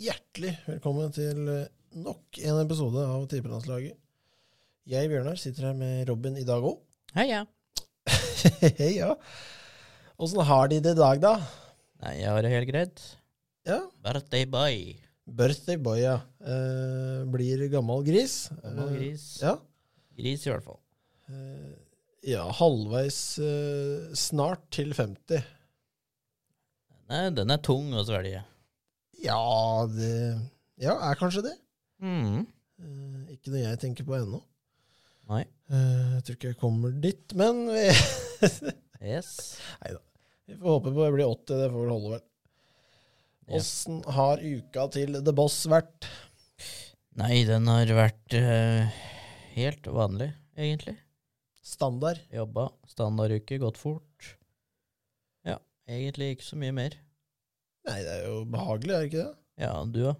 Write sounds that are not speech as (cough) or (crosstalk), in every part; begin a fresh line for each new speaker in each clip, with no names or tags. Hjertelig velkommen til eh, nok en episode av Tippelandslaget. Jeg, Bjørnar, sitter her med Robin i dag òg.
Heia.
(laughs) Hei, ja. Åssen har de det i dag, da?
Nei, jeg har det helt greit.
Ja,
Birthday boy.
Eh, Birthday boy, ja. Eh, blir gammal gris.
Gammel
Eh,
gris.
ja.
Gris i hvert fall.
Eh, ja, halvveis eh, snart til 50.
Nei, den er tung å svelge.
Ja, det Ja, er kanskje det.
Mm.
Eh, ikke noe jeg tenker på ennå.
Nei.
Eh, jeg tror ikke jeg kommer dit, men vi, (laughs)
Yes.
vi får håpe på jeg blir 80. Det får vel holde, vel.
Ja.
Åssen har uka til The Boss vært?
Nei, den har vært eh, helt vanlig, egentlig.
Standard?
Jobba. Standarduke, gått fort. Ja, egentlig ikke så mye mer.
Nei, det er jo behagelig, er det ikke det?
Ja, du da?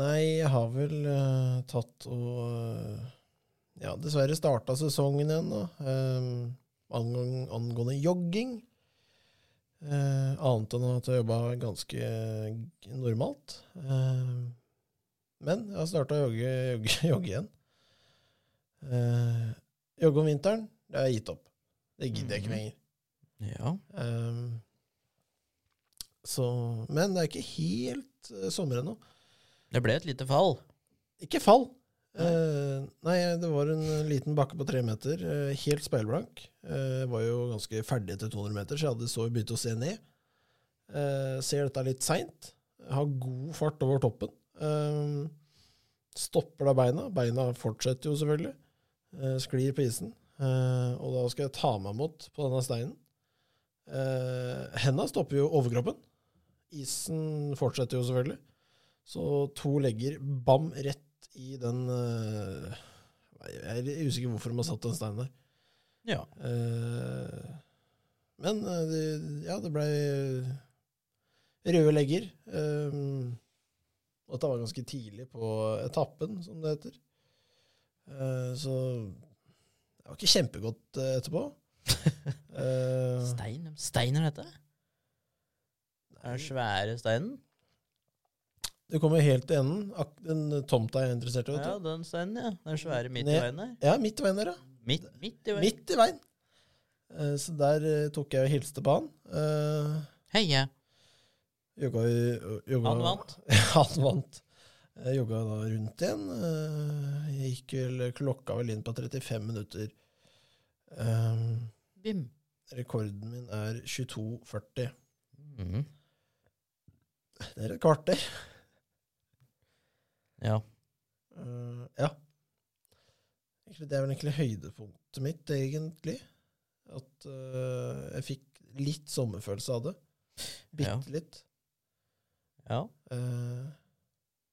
Nei, jeg har vel eh, tatt og eh, Ja, dessverre starta sesongen igjen, da. Eh, angående, angående jogging. Eh, annet enn at jeg jobba ganske g- normalt. Eh, men jeg har starta å jogge, jogge, (laughs) jogge igjen. Eh, jogge om vinteren, det har jeg gitt opp. Det gidder jeg ikke
Mhm.
lenger.
Ja.
Ehm, så, men det er ikke helt eh, sommer ennå.
Det ble et lite fall.
Ikke fall.
Nei.
Eh, nei, det var en liten bakke på tre meter, eh, helt speilblank. Eh, var jo ganske ferdig etter 200 meter, så jeg hadde så begynt å se ned. Eh, ser dette litt seint. Har god fart over toppen. Eh, stopper da beina. Beina fortsetter jo selvfølgelig. Eh, sklir på isen. Eh, og da skal jeg ta meg imot på denne steinen. Eh, henda stopper jo overkroppen. Isen fortsetter jo selvfølgelig. Så to legger bam rett i den eh, Jeg er usikker hvorfor de har satt den steinen der.
Ja.
Eh, men eh, det, ja, det blei røde legger. Eh, og dette var ganske tidlig på etappen, som det heter. Eh, så det var ikke kjempegodt eh, etterpå. Eh,
Stein? Steiner, dette? Den svære steinen?
du kommer helt til enden. Ak den tomta jeg er interessert i.
Ja,
Vet du.
den steinen, ja. Den svære midt i
Ned.
veien der.
Ja, midt i veien der, ja.
Midt, midt i veien.
Midt i veien. Eh, Så der eh, tok jeg og hilste på han. Eh,
Heia.
Jogga, i- jogga
Han
(laughs)
vant.
han vant. Jeg jogga da rundt igjen. Eh, Jeg gikk vel klokka vel inn på 35 minutter. Eh,
Bim.
Rekorden min er 22,40.
Mhm.
Det er et kvarter.
Ja.
Eh, ja. Egentlig, det er vel egentlig høydepunktet mitt, egentlig. At eh, jeg fikk litt sommerfølelse av det. Bitte
Ja.
litt.
ja.
Eh,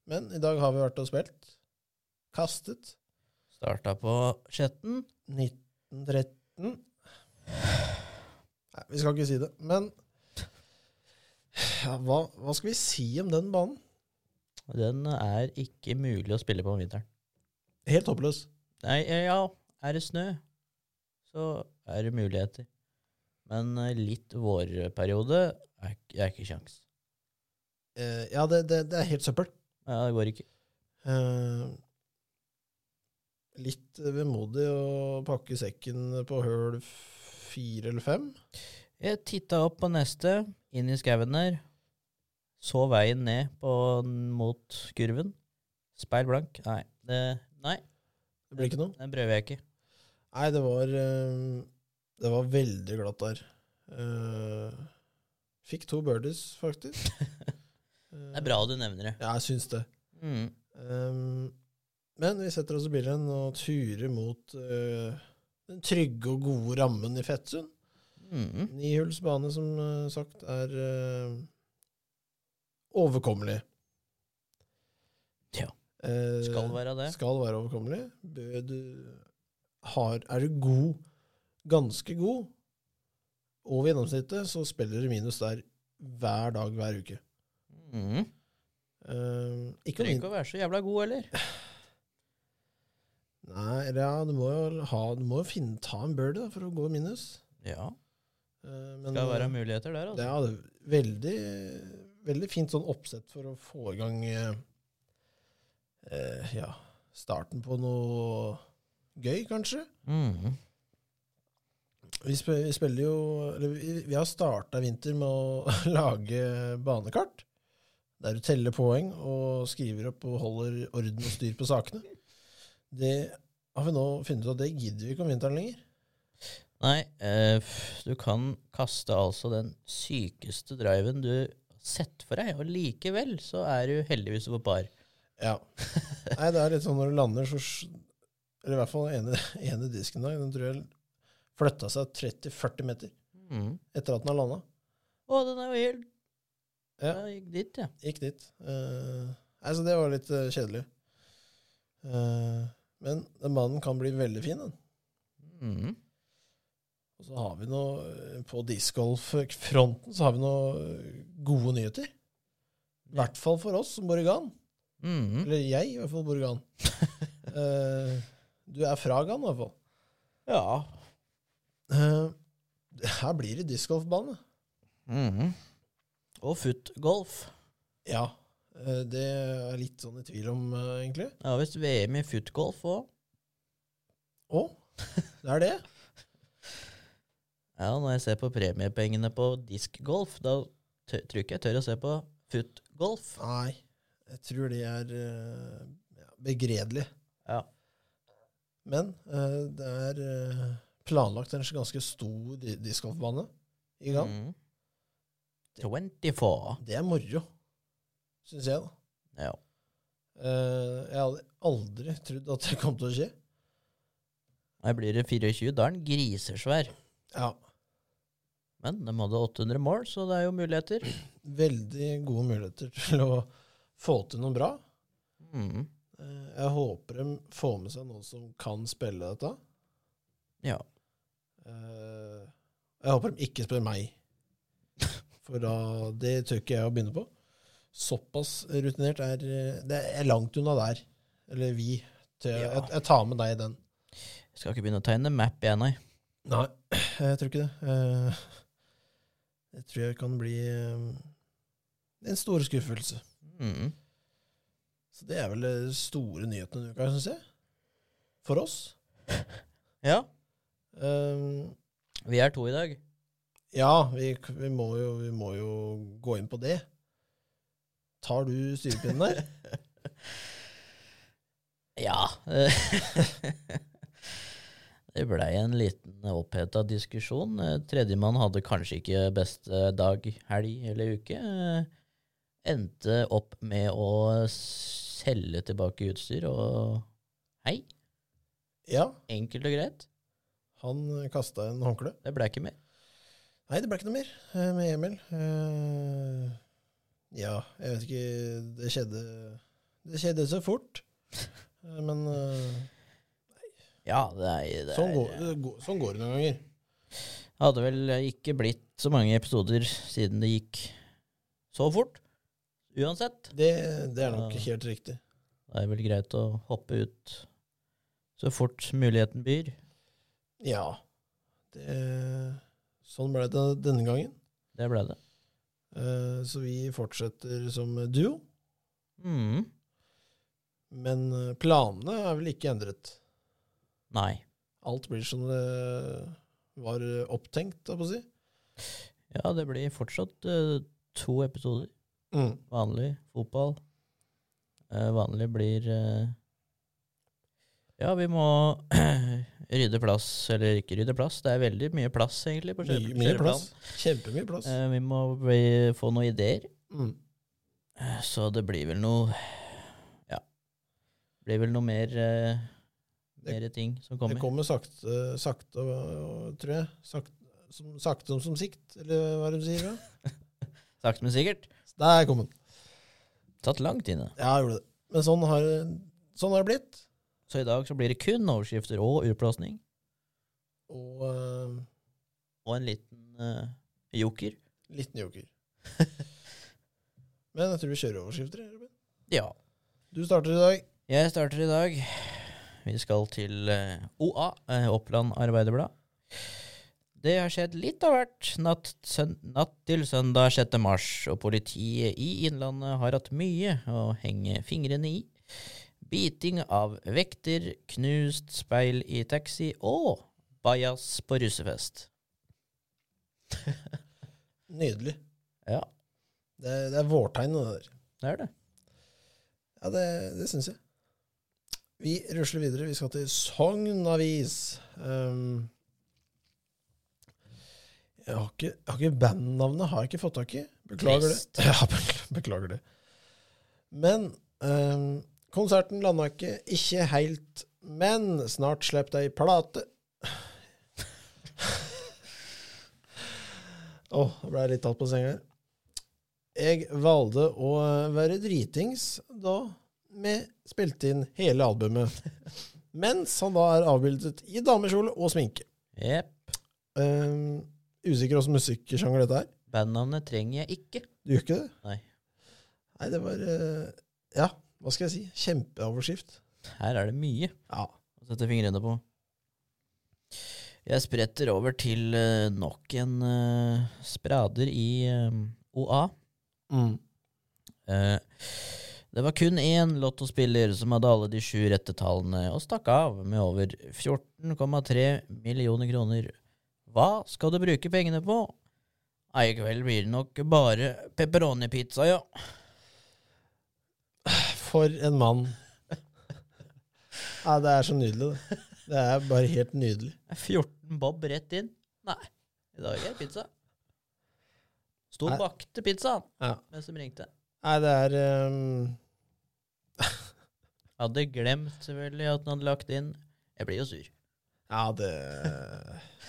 men i dag har vi vært og spilt. Kastet.
Starta på Skjetten.
1913. Nei, vi skal ikke si det. Men ja, hva, hva skal vi si om den banen?
Den er ikke mulig å spille på om vinteren.
Helt håpløs.
Nei, eh, ja, er det snø, så er det muligheter. Men eh, litt vårperiode er, ikk- er ikke kjangs.
Eh, ja, det, det, det er helt søppel.
Ja, det går ikke.
Eh, litt vemodig å pakke sekken på høl fire eller fem.
Jeg titta opp på neste, inn i skauen der. Så veien ned på, mot kurven. Speil blank. Nei, det, nei,
Det blir ikke noe.
den prøver jeg ikke.
Nei, det var eh, Det var veldig glatt der. Eh, fikk to birdies, faktisk.
(laughs)
Eh,
Det er bra du nevner det.
Ja, jeg syns det.
Mm.
Ehm, men vi setter oss i bilen og turer mot eh, den trygge og gode rammen i Fettsund.
Mm.
Nihulls bane, som eh, sagt, er eh, overkommelig.
Ja.
Eh,
Skal være det.
skal være overkommelig. Bø- Du har, er du god, ganske god, over gjennomsnittet, så spiller du minus der hver dag, hver uke.
Mm.
Eh, ikke om
Trenger ikke
vinteren.
å være så jævla god heller.
Nei, eller ja, du må jo, ha, du må jo finne, ta en birdie da, for å gå i minus.
Ja,
Eh, men, eh,
skal være muligheter der, altså.
Ja, det er veldig, veldig fint sånn oppsett for å få i gang eh, eh, ja, starten på noe gøy, kanskje.
Mm.
Vi, sp vi spiller jo eller Vi, vi har starta vinter med å (laughs) lage banekart. Der du teller poeng og skriver opp og holder orden og styr på sakene. Det har vi nå funnet ut at det gidder vi ikke om vinteren lenger.
Nei, eh, f- du kan kaste altså den sykeste driven du har sett for deg, og likevel så er du heldigvis på par.
Ja. (laughs) Nei, det er litt sånn når du lander, så s- Eller i hvert fall ene, ene disken i dag, den tror jeg flytta seg 30-40 meter
Mm.
etter at den har landa.
Å, den er jo helt
Ja.
Jeg gikk dit, ja.
Gikk dit. Eh, nei, så det var litt eh, kjedelig. Eh, men den banen kan bli veldig fin, den.
Mm.
Og så har vi noe eh, På discgolf-fronten så har vi noe eh, gode nyheter. I hvert fall for oss som Borregan.
Mm.
Eller jeg, i hvert fall Borregan. Eh, du er fra Gan, i hvert fall.
Ja.
Eh, her blir det discgolfbane.
Mm. Og footgolf.
Ja. eh, det er jeg litt sånn i tvil om, eh, egentlig.
Det var visst VM i footgolf òg.
Å, det er det?
Ja, når jeg ser på premiepengene på diskgolf, da tø- tror ikke jeg tør å se på footgolf.
Nei. Jeg tror det er eh, ja, begredelig.
Ja.
Men eh, det er eh, planlagt en ganske stor di- discgolfbane i gang.
Mm. 24.
Det er moro, syns jeg, da.
Ja.
Eh, jeg hadde aldri trodd at det kom til å skje.
Her blir det 24, da er den grisesvær.
Ja,
Men de hadde 800 mål, så det er jo muligheter.
Veldig gode muligheter til å få til noe bra.
Mm.
Eh, jeg håper de får med seg noen som kan spille dette.
Ja.
Eh, jeg håper de ikke spør meg, for da, det tør ikke jeg å begynne på. Såpass rutinert er eh, Det er langt unna der. Eller vi. Til,
Ja.
jeg, jeg tar med deg i den.
Jeg skal ikke begynne å tegne map igjen, nei.
Nei, jeg tror ikke det. Eh, Jeg tror jeg kan bli eh, en stor skuffelse.
Mm.
Så det er vel de store nyhetene denne uka, syns jeg. For oss.
Ja,
Eh,
vi er to i dag.
Ja, vi, vi, må jo, vi må jo gå inn på det. Tar du styrepinnen der?
Ja. (laughs) det blei en liten oppheta diskusjon. Eh, Tredjemann hadde kanskje ikke beste dag, helg eller uke. Eh, Endte opp med å selge tilbake utstyr og Hei,
Ja,
enkelt og greit.
han kasta en håndkle.
Det blei ikke mer.
Nei, det ble ikke noe mer eh, med Emil. Eh, Ja, jeg vet ikke Det skjedde Det skjedde så fort. Eh, Men eh,
Ja, det er, (laughs) det er
sånn går, det går, sånn går det noen ganger.
Hadde vel ikke blitt så mange episoder siden det gikk så fort. Uansett.
Det, det er nok
Ja.
helt riktig.
Det er vel greit å hoppe ut så fort muligheten byr.
Ja. Det, sånn ble det denne gangen.
Det ble det.
Eh, Så vi fortsetter som duo.
Mm.
Men eh, planene er vel ikke endret.
Nei.
Alt blir som det var eh, opptenkt, da, på å si.
Ja, det blir fortsatt eh, to episoder.
Mm.
Vanlig fotball. Eh, vanlig blir eh, Ja, vi må (clears throat) rydde plass, eller ikke rydde plass. Det er veldig mye plass, egentlig, på
Mye,
kjøre-
mye
kjøreplanen.
plass. Kjempemye plass.
Eh, vi må bli, få noen ideer.
Mm.
Så det blir vel noe Ja. Det blir vel noe mer eh,
Det-
Mer ting som
Det
kommer.
kommer sakte, sakte og- tror jeg. Sakte som, sakte som, som sikt, eller hva er det de sier? da?
Sakte, men sikkert.
(laughs) Der kom den.
Tatt langt inne.
Ja, jeg gjorde det. Men sånn har, det- sånn har det blitt.
Så i dag så blir det kun overskrifter og utblåsning.
Og eh,
Og en liten eh, joker.
liten (laughs) joker. Men jeg tror vi kjører overskrifter. jeg, Ruben.
Ja.
Du starter i dag.
Jeg starter i dag. Vi skal til eh, OA, eh, Oppland Arbeiderblad. Det har skjedd litt av hvert natt, søn, natt til søndag 6. mars, og politiet i Innlandet har hatt mye å henge fingrene i. Biting av vekter, knust speil i taxi og bajas på russefest.
Nydelig.
Ja,
Det, det er vårtegn, det der.
det er det.
Ja, det, det syns jeg. Vi rusler videre. Vi skal til Sogn Avis. Um, jeg har ikke, jeg har ikke bandnavnet har jeg ikke fått tak i. Beklager det. (laughs)
Trist.
Ja, bekl- beklager det. Men um, konserten landa ikke. Ikke helt, men snart slipper de ei plate. (laughs) Å, da ble jeg litt tatt på senga her. Jeg valgte å være dritings da vi spilte inn hele albumet. Mens han da er avbildet i damekjole og sminke.
Jepp.
Um, usikker hvilken musikksjanger dette er.
Bandnavnet trenger jeg ikke.
Du gjør ikke det?
Nei.
Nei, det var eh, Ja, hva skal jeg si? Kjempeoverskrift.
Her er det mye
Ja.
å sette fingrene på. Jeg spretter over til eh, nok en eh, sprader i eh, OA.
Mm.
Eh, Det var kun én lottospiller som hadde alle de sju rette tallene, og stakk av med over 14,3 millioner kroner. Hva skal du bruke pengene på? Nei, i kveld blir det nok bare pepperoni-pizza, ja.
For en mann. Nei, det er så nydelig, det. Det er bare helt nydelig.
14 bob rett inn. Nei, i dag er det pizza. Sto
Nei.
og bakte pizzaen
Ja.
mens de ringte.
Nei, det er ehm,
Hadde glemt selvfølgelig at den hadde lagt inn. Jeg blir jo sur.
Ja, det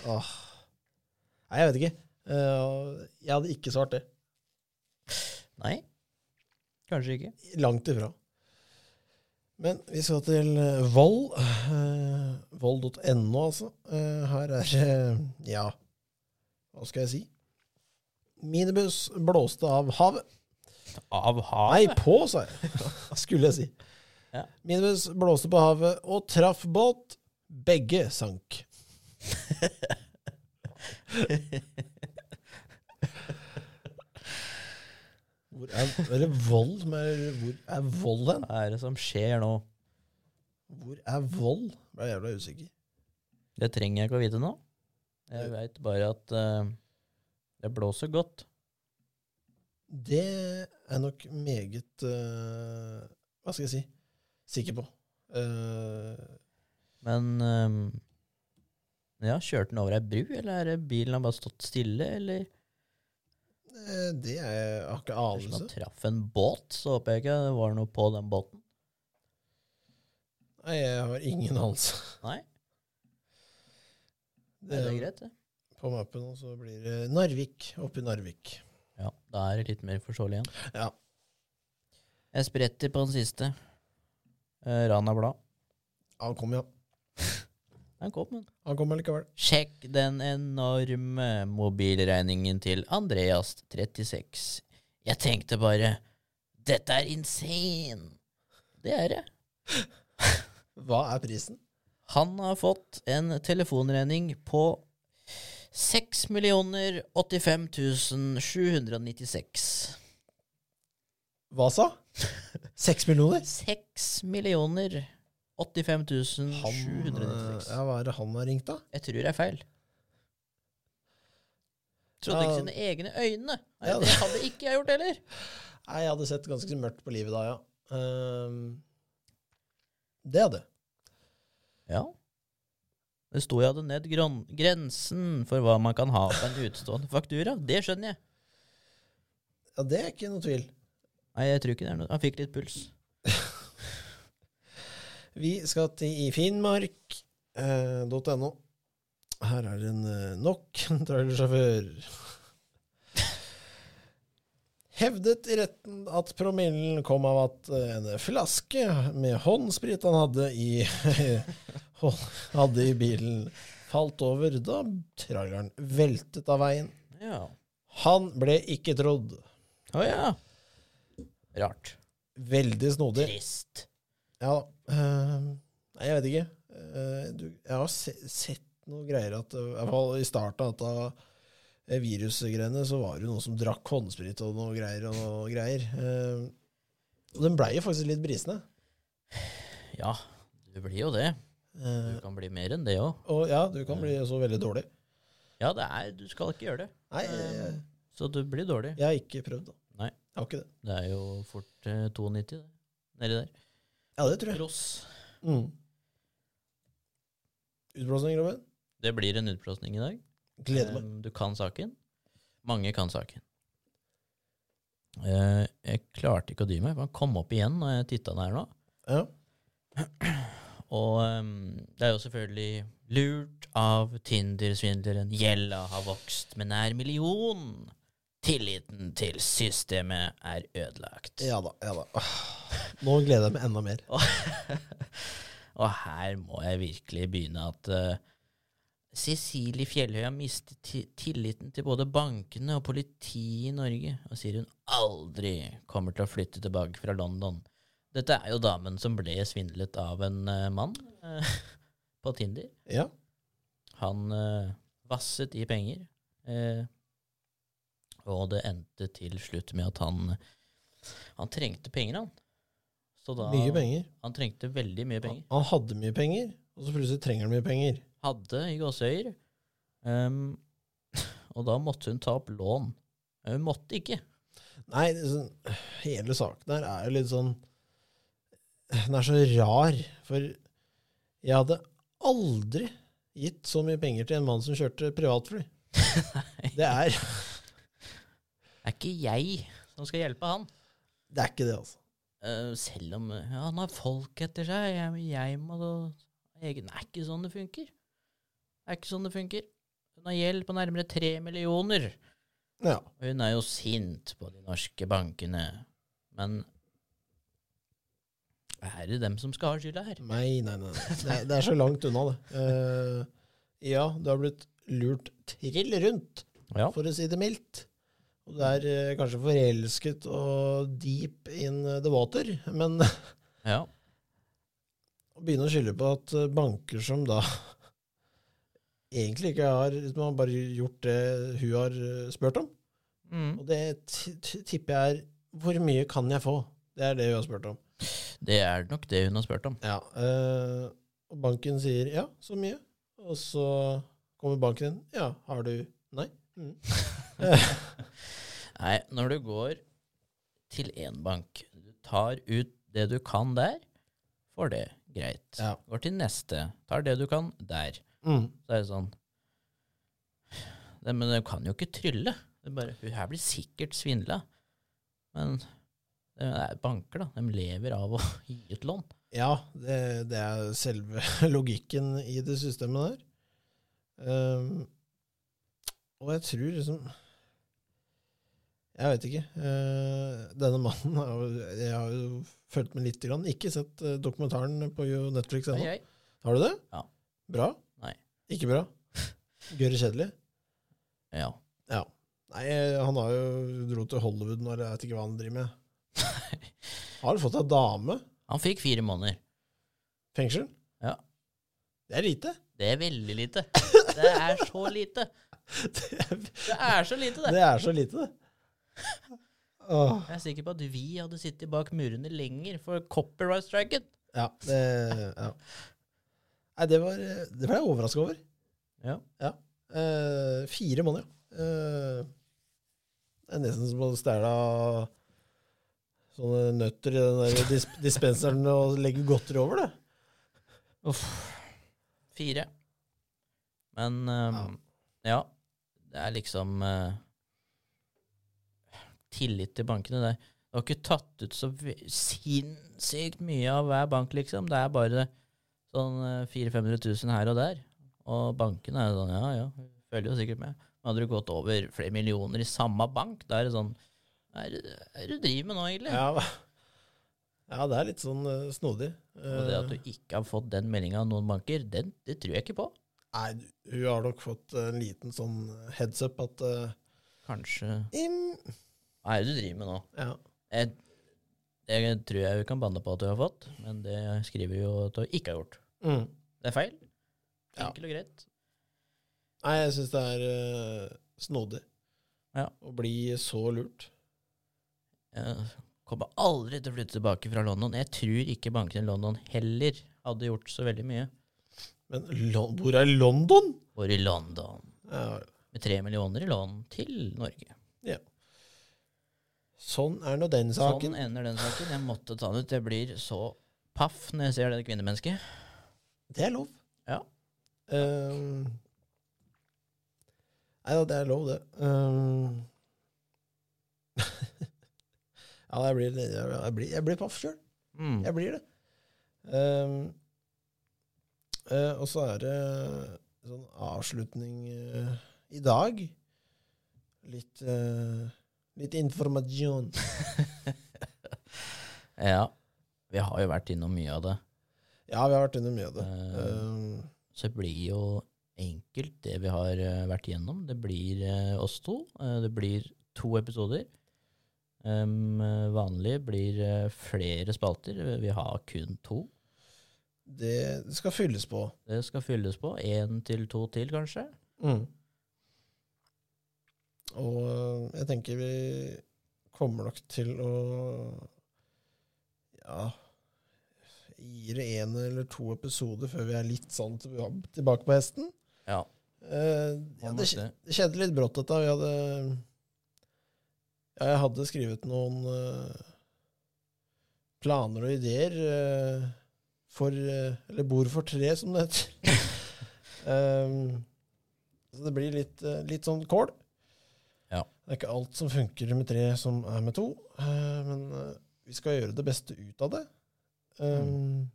Åh. Nei, jeg vet ikke. Eh, jeg hadde ikke svart det.
Nei, kanskje ikke.
Langt ifra. Men vi skal til eh, Vold. eh, Vold.no, altså. Eh, her er eh, Ja, hva skal jeg si? Minibuss blåste av havet.
Av
Nei,
havet?
på, sa jeg. (laughs) Skulle jeg si.
Ja.
Minibuss blåste på havet og traff båt. Begge sank. Hvor er, eller vold, men hvor er vold hen?
Hva er det som skjer nå?
Hvor er vold? Ble jævla usikker.
Det trenger jeg ikke å vite nå. Jeg veit bare at eh, det blåser godt.
Det er nok meget eh, Hva skal jeg si? Sikker på. Eh,
Men eh, ja, kjørte den over ei bru, eller er det bilen har bare stått stille, eller
eh, det er, jeg har ikke
Hvis
anelse.
man traff en båt, så håper jeg ikke det var noe på den båten.
Nei, jeg har ingen anelse.
Nei, det er greit, det.
Eh, På mappen, og så blir det Narvik. Oppi Narvik.
Ja, da er det litt mer forståelig igjen.
Ja.
Jeg spretter på den siste. Eh, Rana Blad.
Han kom, ja.
Den kom, den.
Han kom allikevel.
Sjekk den enorme mobilregningen til Andreas 36. Jeg tenkte bare Dette er insane! Det er det.
Hva er prisen?
Han har fått en telefonregning på 6 085 796.
Hva
(laughs)
sa? Seks millioner?
6 085
Han, eh,
796.
ja, hva er det han har ringt, da?
Jeg tror det er feil. Trodde ikke
Ja.
sine egne øyne. Nei,
Ja,
det
det-
hadde ikke jeg gjort heller.
Nei, jeg hadde sett ganske mørkt på livet da, ja. Ehm, det hadde jeg.
Ja. Det sto jeg hadde ned gron- grensen for hva man kan ha på en utstående faktura. Det skjønner jeg.
Ja, det er ikke noe tvil.
Nei, jeg tror ikke det er noe. Han fikk litt puls.
Vi skal til i finnmark.no. Her er en eh, nok (laughs) en trailersjåfør. Hevdet i retten at promillen kom av at eh, en flaske med håndsprit han hadde i, (laughs) hånd- hadde i bilen, falt over da traileren veltet av veien.
Ja.
Han ble ikke trodd.
Å ja. Rart.
Veldig snodig.
Trist.
ehm, Ja da. Eh, nei, jeg vet ikke. Eh, du, jeg har se sett noe greier at eh, i hvert fall I starten av dette, eh, virusgreiene så var det jo noen som drakk håndsprit og noe greier og noe greier. Eh, og den blei jo faktisk litt brisende.
Ja, du blir jo det. Du
Eh,
kan bli mer enn det òg.
og ja, du kan bli så veldig dårlig.
Ja, det er, du skal ikke gjøre det.
Nei, jeg,
Så du blir dårlig.
jeg har ikke prøvd, da.
Nei.
Jeg har ikke det.
Det er jo fort eh, 92, det. Nedi der.
Ja, det tror jeg.
Ross.
Mm. Utblåsning, Robin?
Det blir en utblåsning i dag.
Gleder meg.
Eh, Du kan saken. Mange kan saken. Eh, Jeg klarte ikke å dy meg. for Han kom opp igjen når jeg titta der nå.
Ja.
Og ehm, det er jo selvfølgelig lurt av Tinder-svindleren. Gjelda har vokst med nær million. Tilliten til systemet er ødelagt.
ja da. Ja da. Nå gleder jeg meg enda mer.
Og, og her må jeg virkelig begynne at eh, Cecilie Fjellhøy har mistet ti- tilliten til både bankene og politiet i Norge, og sier hun aldri kommer til å flytte tilbake fra London. Dette er jo damen som ble svindlet av en eh, mann eh, (laughs) på Tinder.
Ja.
Han eh, vasset i penger, eh, og det endte til slutt med at han, han trengte penger, han. Så da-
Mye penger.
han trengte veldig mye
Han,
penger.
han hadde mye penger, og så plutselig trenger han mye penger.
Hadde i gåseøyer. Ehm, og da måtte hun ta opp lån. Men Hun måtte ikke.
Nei, det er sånn, hele saken her er jo litt sånn Den er så rar, for jeg hadde aldri gitt så mye penger til en mann som kjørte
(laughs)
privatfly. Det er,
Det er ikke jeg som skal hjelpe han.
det er ikke det, altså.
Eh, selv om eh, ja, han har folk etter seg. Jeg, jeg må da jeg, Det er ikke sånn det funker. Det er ikke sånn det funker. Hun har gjeld på nærmere tre millioner.
Ja.
Og hun er jo sint på de norske bankene. Men er det dem som skal ha skylda her?
Nei, nei, nei. nei. Det, er- det er så langt unna, det. Eh, ja, du har blitt lurt trill rundt,
Ja.
for å si det mildt. Og du er eh, kanskje forelsket og deep in the water, men
ja.
å begynne å skylde på at eh, banker som da (laughs) egentlig ikke har liksom har bare gjort det hun har eh, spurt om,
Mm.
og det t t tipper jeg er hvor mye kan jeg få? Det er det hun har spurt om.
Det er nok det hun har spurt om.
Ja, eh, og banken sier ja, så mye. Og så kommer banken inn. Ja, har du Nei. Mm.
Nei, når du går til én bank, du tar ut det du kan der, får det greit.
Ja.
Går til neste, tar det du kan der.
Mm.
Så er det sånn Nei, Men du kan jo ikke trylle. Det er bare, Hun her blir sikkert svindla. Men det er banker, da. De lever av å (laughs) gi ut lån.
Ja, det, det er selve (laughs) logikken i det systemet der. Ehm, og jeg tror liksom Jeg vet ikke. Eh, denne mannen har jo- Jeg har jo fulgt med lite grann. Ikke sett eh, dokumentaren på jo Netflix ennå.
Ai, ai.
Har du det?
Ja.
Bra?
Nei.
Ikke
(laughs)
bra? Gørre kjedelig?
Ja.
Nei, eh, han har jo dro til Hollywood når jeg vet ikke hva han driver
(laughs)
med. Har fått seg dame?
Han fikk fire måneder.
Fengsel?
Ja.
Det er lite.
Det er veldig lite. Det er så lite.
(laughs) Det er,
Det er så lite, det.
det er så lite, det. Åh,
Jeg er sikker på at vi hadde sittet bak murene lenger for copyright striken.
ja, det, ja. Nei, det var Det ble jeg overraska over.
Ja.
Eh, fire måneder, ja. Eh, det er nesten som å stjele sånne nøtter i den der dis dispenseren og legge godteri over det.
Uff. Fire. Men ehm, ja. det er liksom eh, Tillit til bankene der. Du har ikke tatt ut så ve- sinnssykt mye av hver bank, liksom. Det er bare sånn eh, 400 000-500 000 her og der. Og bankene er jo sånn, ja ja, vi følger jo sikkert med. Men hadde du gått over flere millioner i samme bank, da er det sånn Hva er det hva er det du driver med nå, egentlig?
Ja, ja det er litt sånn eh, snodig.
Og det
Eh,
at du ikke har fått den meldinga av noen banker, den, det tror jeg ikke på.
Nei, du- hun har nok fått en liten sånn heads up at eh,
Kanskje
im,
Hva er det du driver med nå?
ja.
Jeg, det tror jeg vi kan banne på at du har fått, men det skriver jo at du ikke har gjort.
Mm.
Det er feil.
Ja.
Enkelt og greit.
Nei, jeg syns det er eh, snodig
Ja.
å bli så lurt.
Jeg kommer aldri til å flytte tilbake fra London. Jeg tror ikke bankene i London heller hadde gjort så veldig mye.
Men Lon- hvor er London?
Hvor i London?
Ja,
Med tre millioner i lån til Norge.
sånn er nå den saken.
Sånn ender den saken. Jeg måtte ta den ut. Jeg blir så paff når jeg ser det kvinnemennesket.
Det er lov.
Ja.
Ehm, nei da, det er lov, det. Ehm, (laughs) ja, jeg blir, jeg blir, jeg blir paff sjøl.
Mm.
Jeg blir det. Ehm, eh, og så er det sånn avslutning eh, i dag. Litt eh, Litt informasjon.
Ja. Vi har jo vært innom mye av det.
Ja, vi har vært under mye av det.
Eh,
Ehm,
Så det blir jo enkelt, det vi har eh, vært igjennom. Det blir eh, oss to. Eh, Det blir to episoder. Um, eh, vanlig blir eh, flere spalter. Vi har kun to.
det skal fylles på.
Det skal fylles på. Én til to til, kanskje.
Mm. Og øh, jeg tenker vi kommer nok til å ja gi det en eller to episoder før vi er litt sånn til- ja, tilbake på hesten.
Ja.
Eh, ja, det, skje- det skjedde litt brått, dette. Vi hadde ja, Jeg hadde skrevet noen eh, planer og ideer eh, for eh, Eller bord for tre, som det heter. Ehm, så det blir litt, eh, litt sånn kål.
Ja.
Det er ikke alt som funker med tre, som er med to. eh, men eh, vi skal gjøre det beste ut av det. Ehm,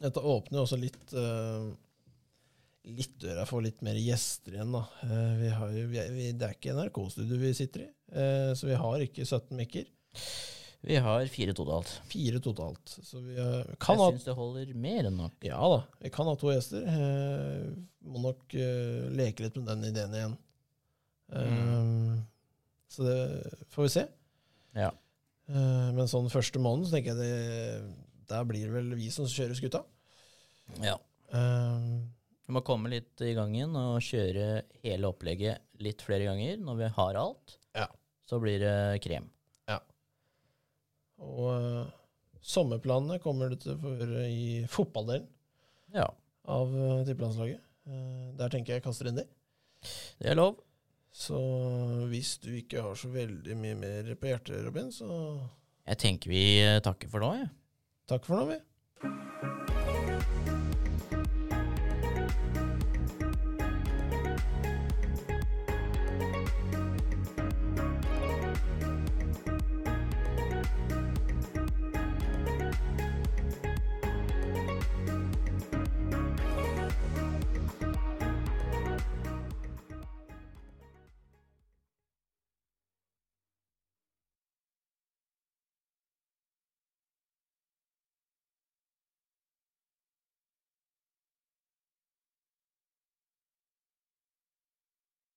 Dette åpner jo også litt eh, litt døra for litt mer gjester igjen, da. Eh, Vi har jo, vi, er- vi, det er ikke NRK-studio vi sitter i, eh, så vi har ikke 17 mikker.
Vi har fire totalt.
Fire totalt. Så vi eh, kan
Jeg
ha
syns det holder mer enn nok.
Ja da, vi kan ha to gjester. Eh, Må nok eh, leke litt med den ideen igjen. Eh, Så det får vi se.
Ja.
Eh, Men sånn første måneden så tenker jeg det der blir det vel vi som kjører skuta.
ja.
Eh,
Vi må komme litt i gangen og kjøre hele opplegget litt flere ganger. Når vi har alt,
Ja.
så blir det krem.
Og eh, sommerplanene kommer du til å få høre i fotballdelen.
Ja,
av eh, tippelandslaget. Eh, Der tenker jeg jeg kaster inn det.
det er lov.
Så hvis du ikke har så veldig mye mer på hjertet, Robin, så um
Jeg tenker vi eh, takker for nå, jeg.
takk for nå, vi.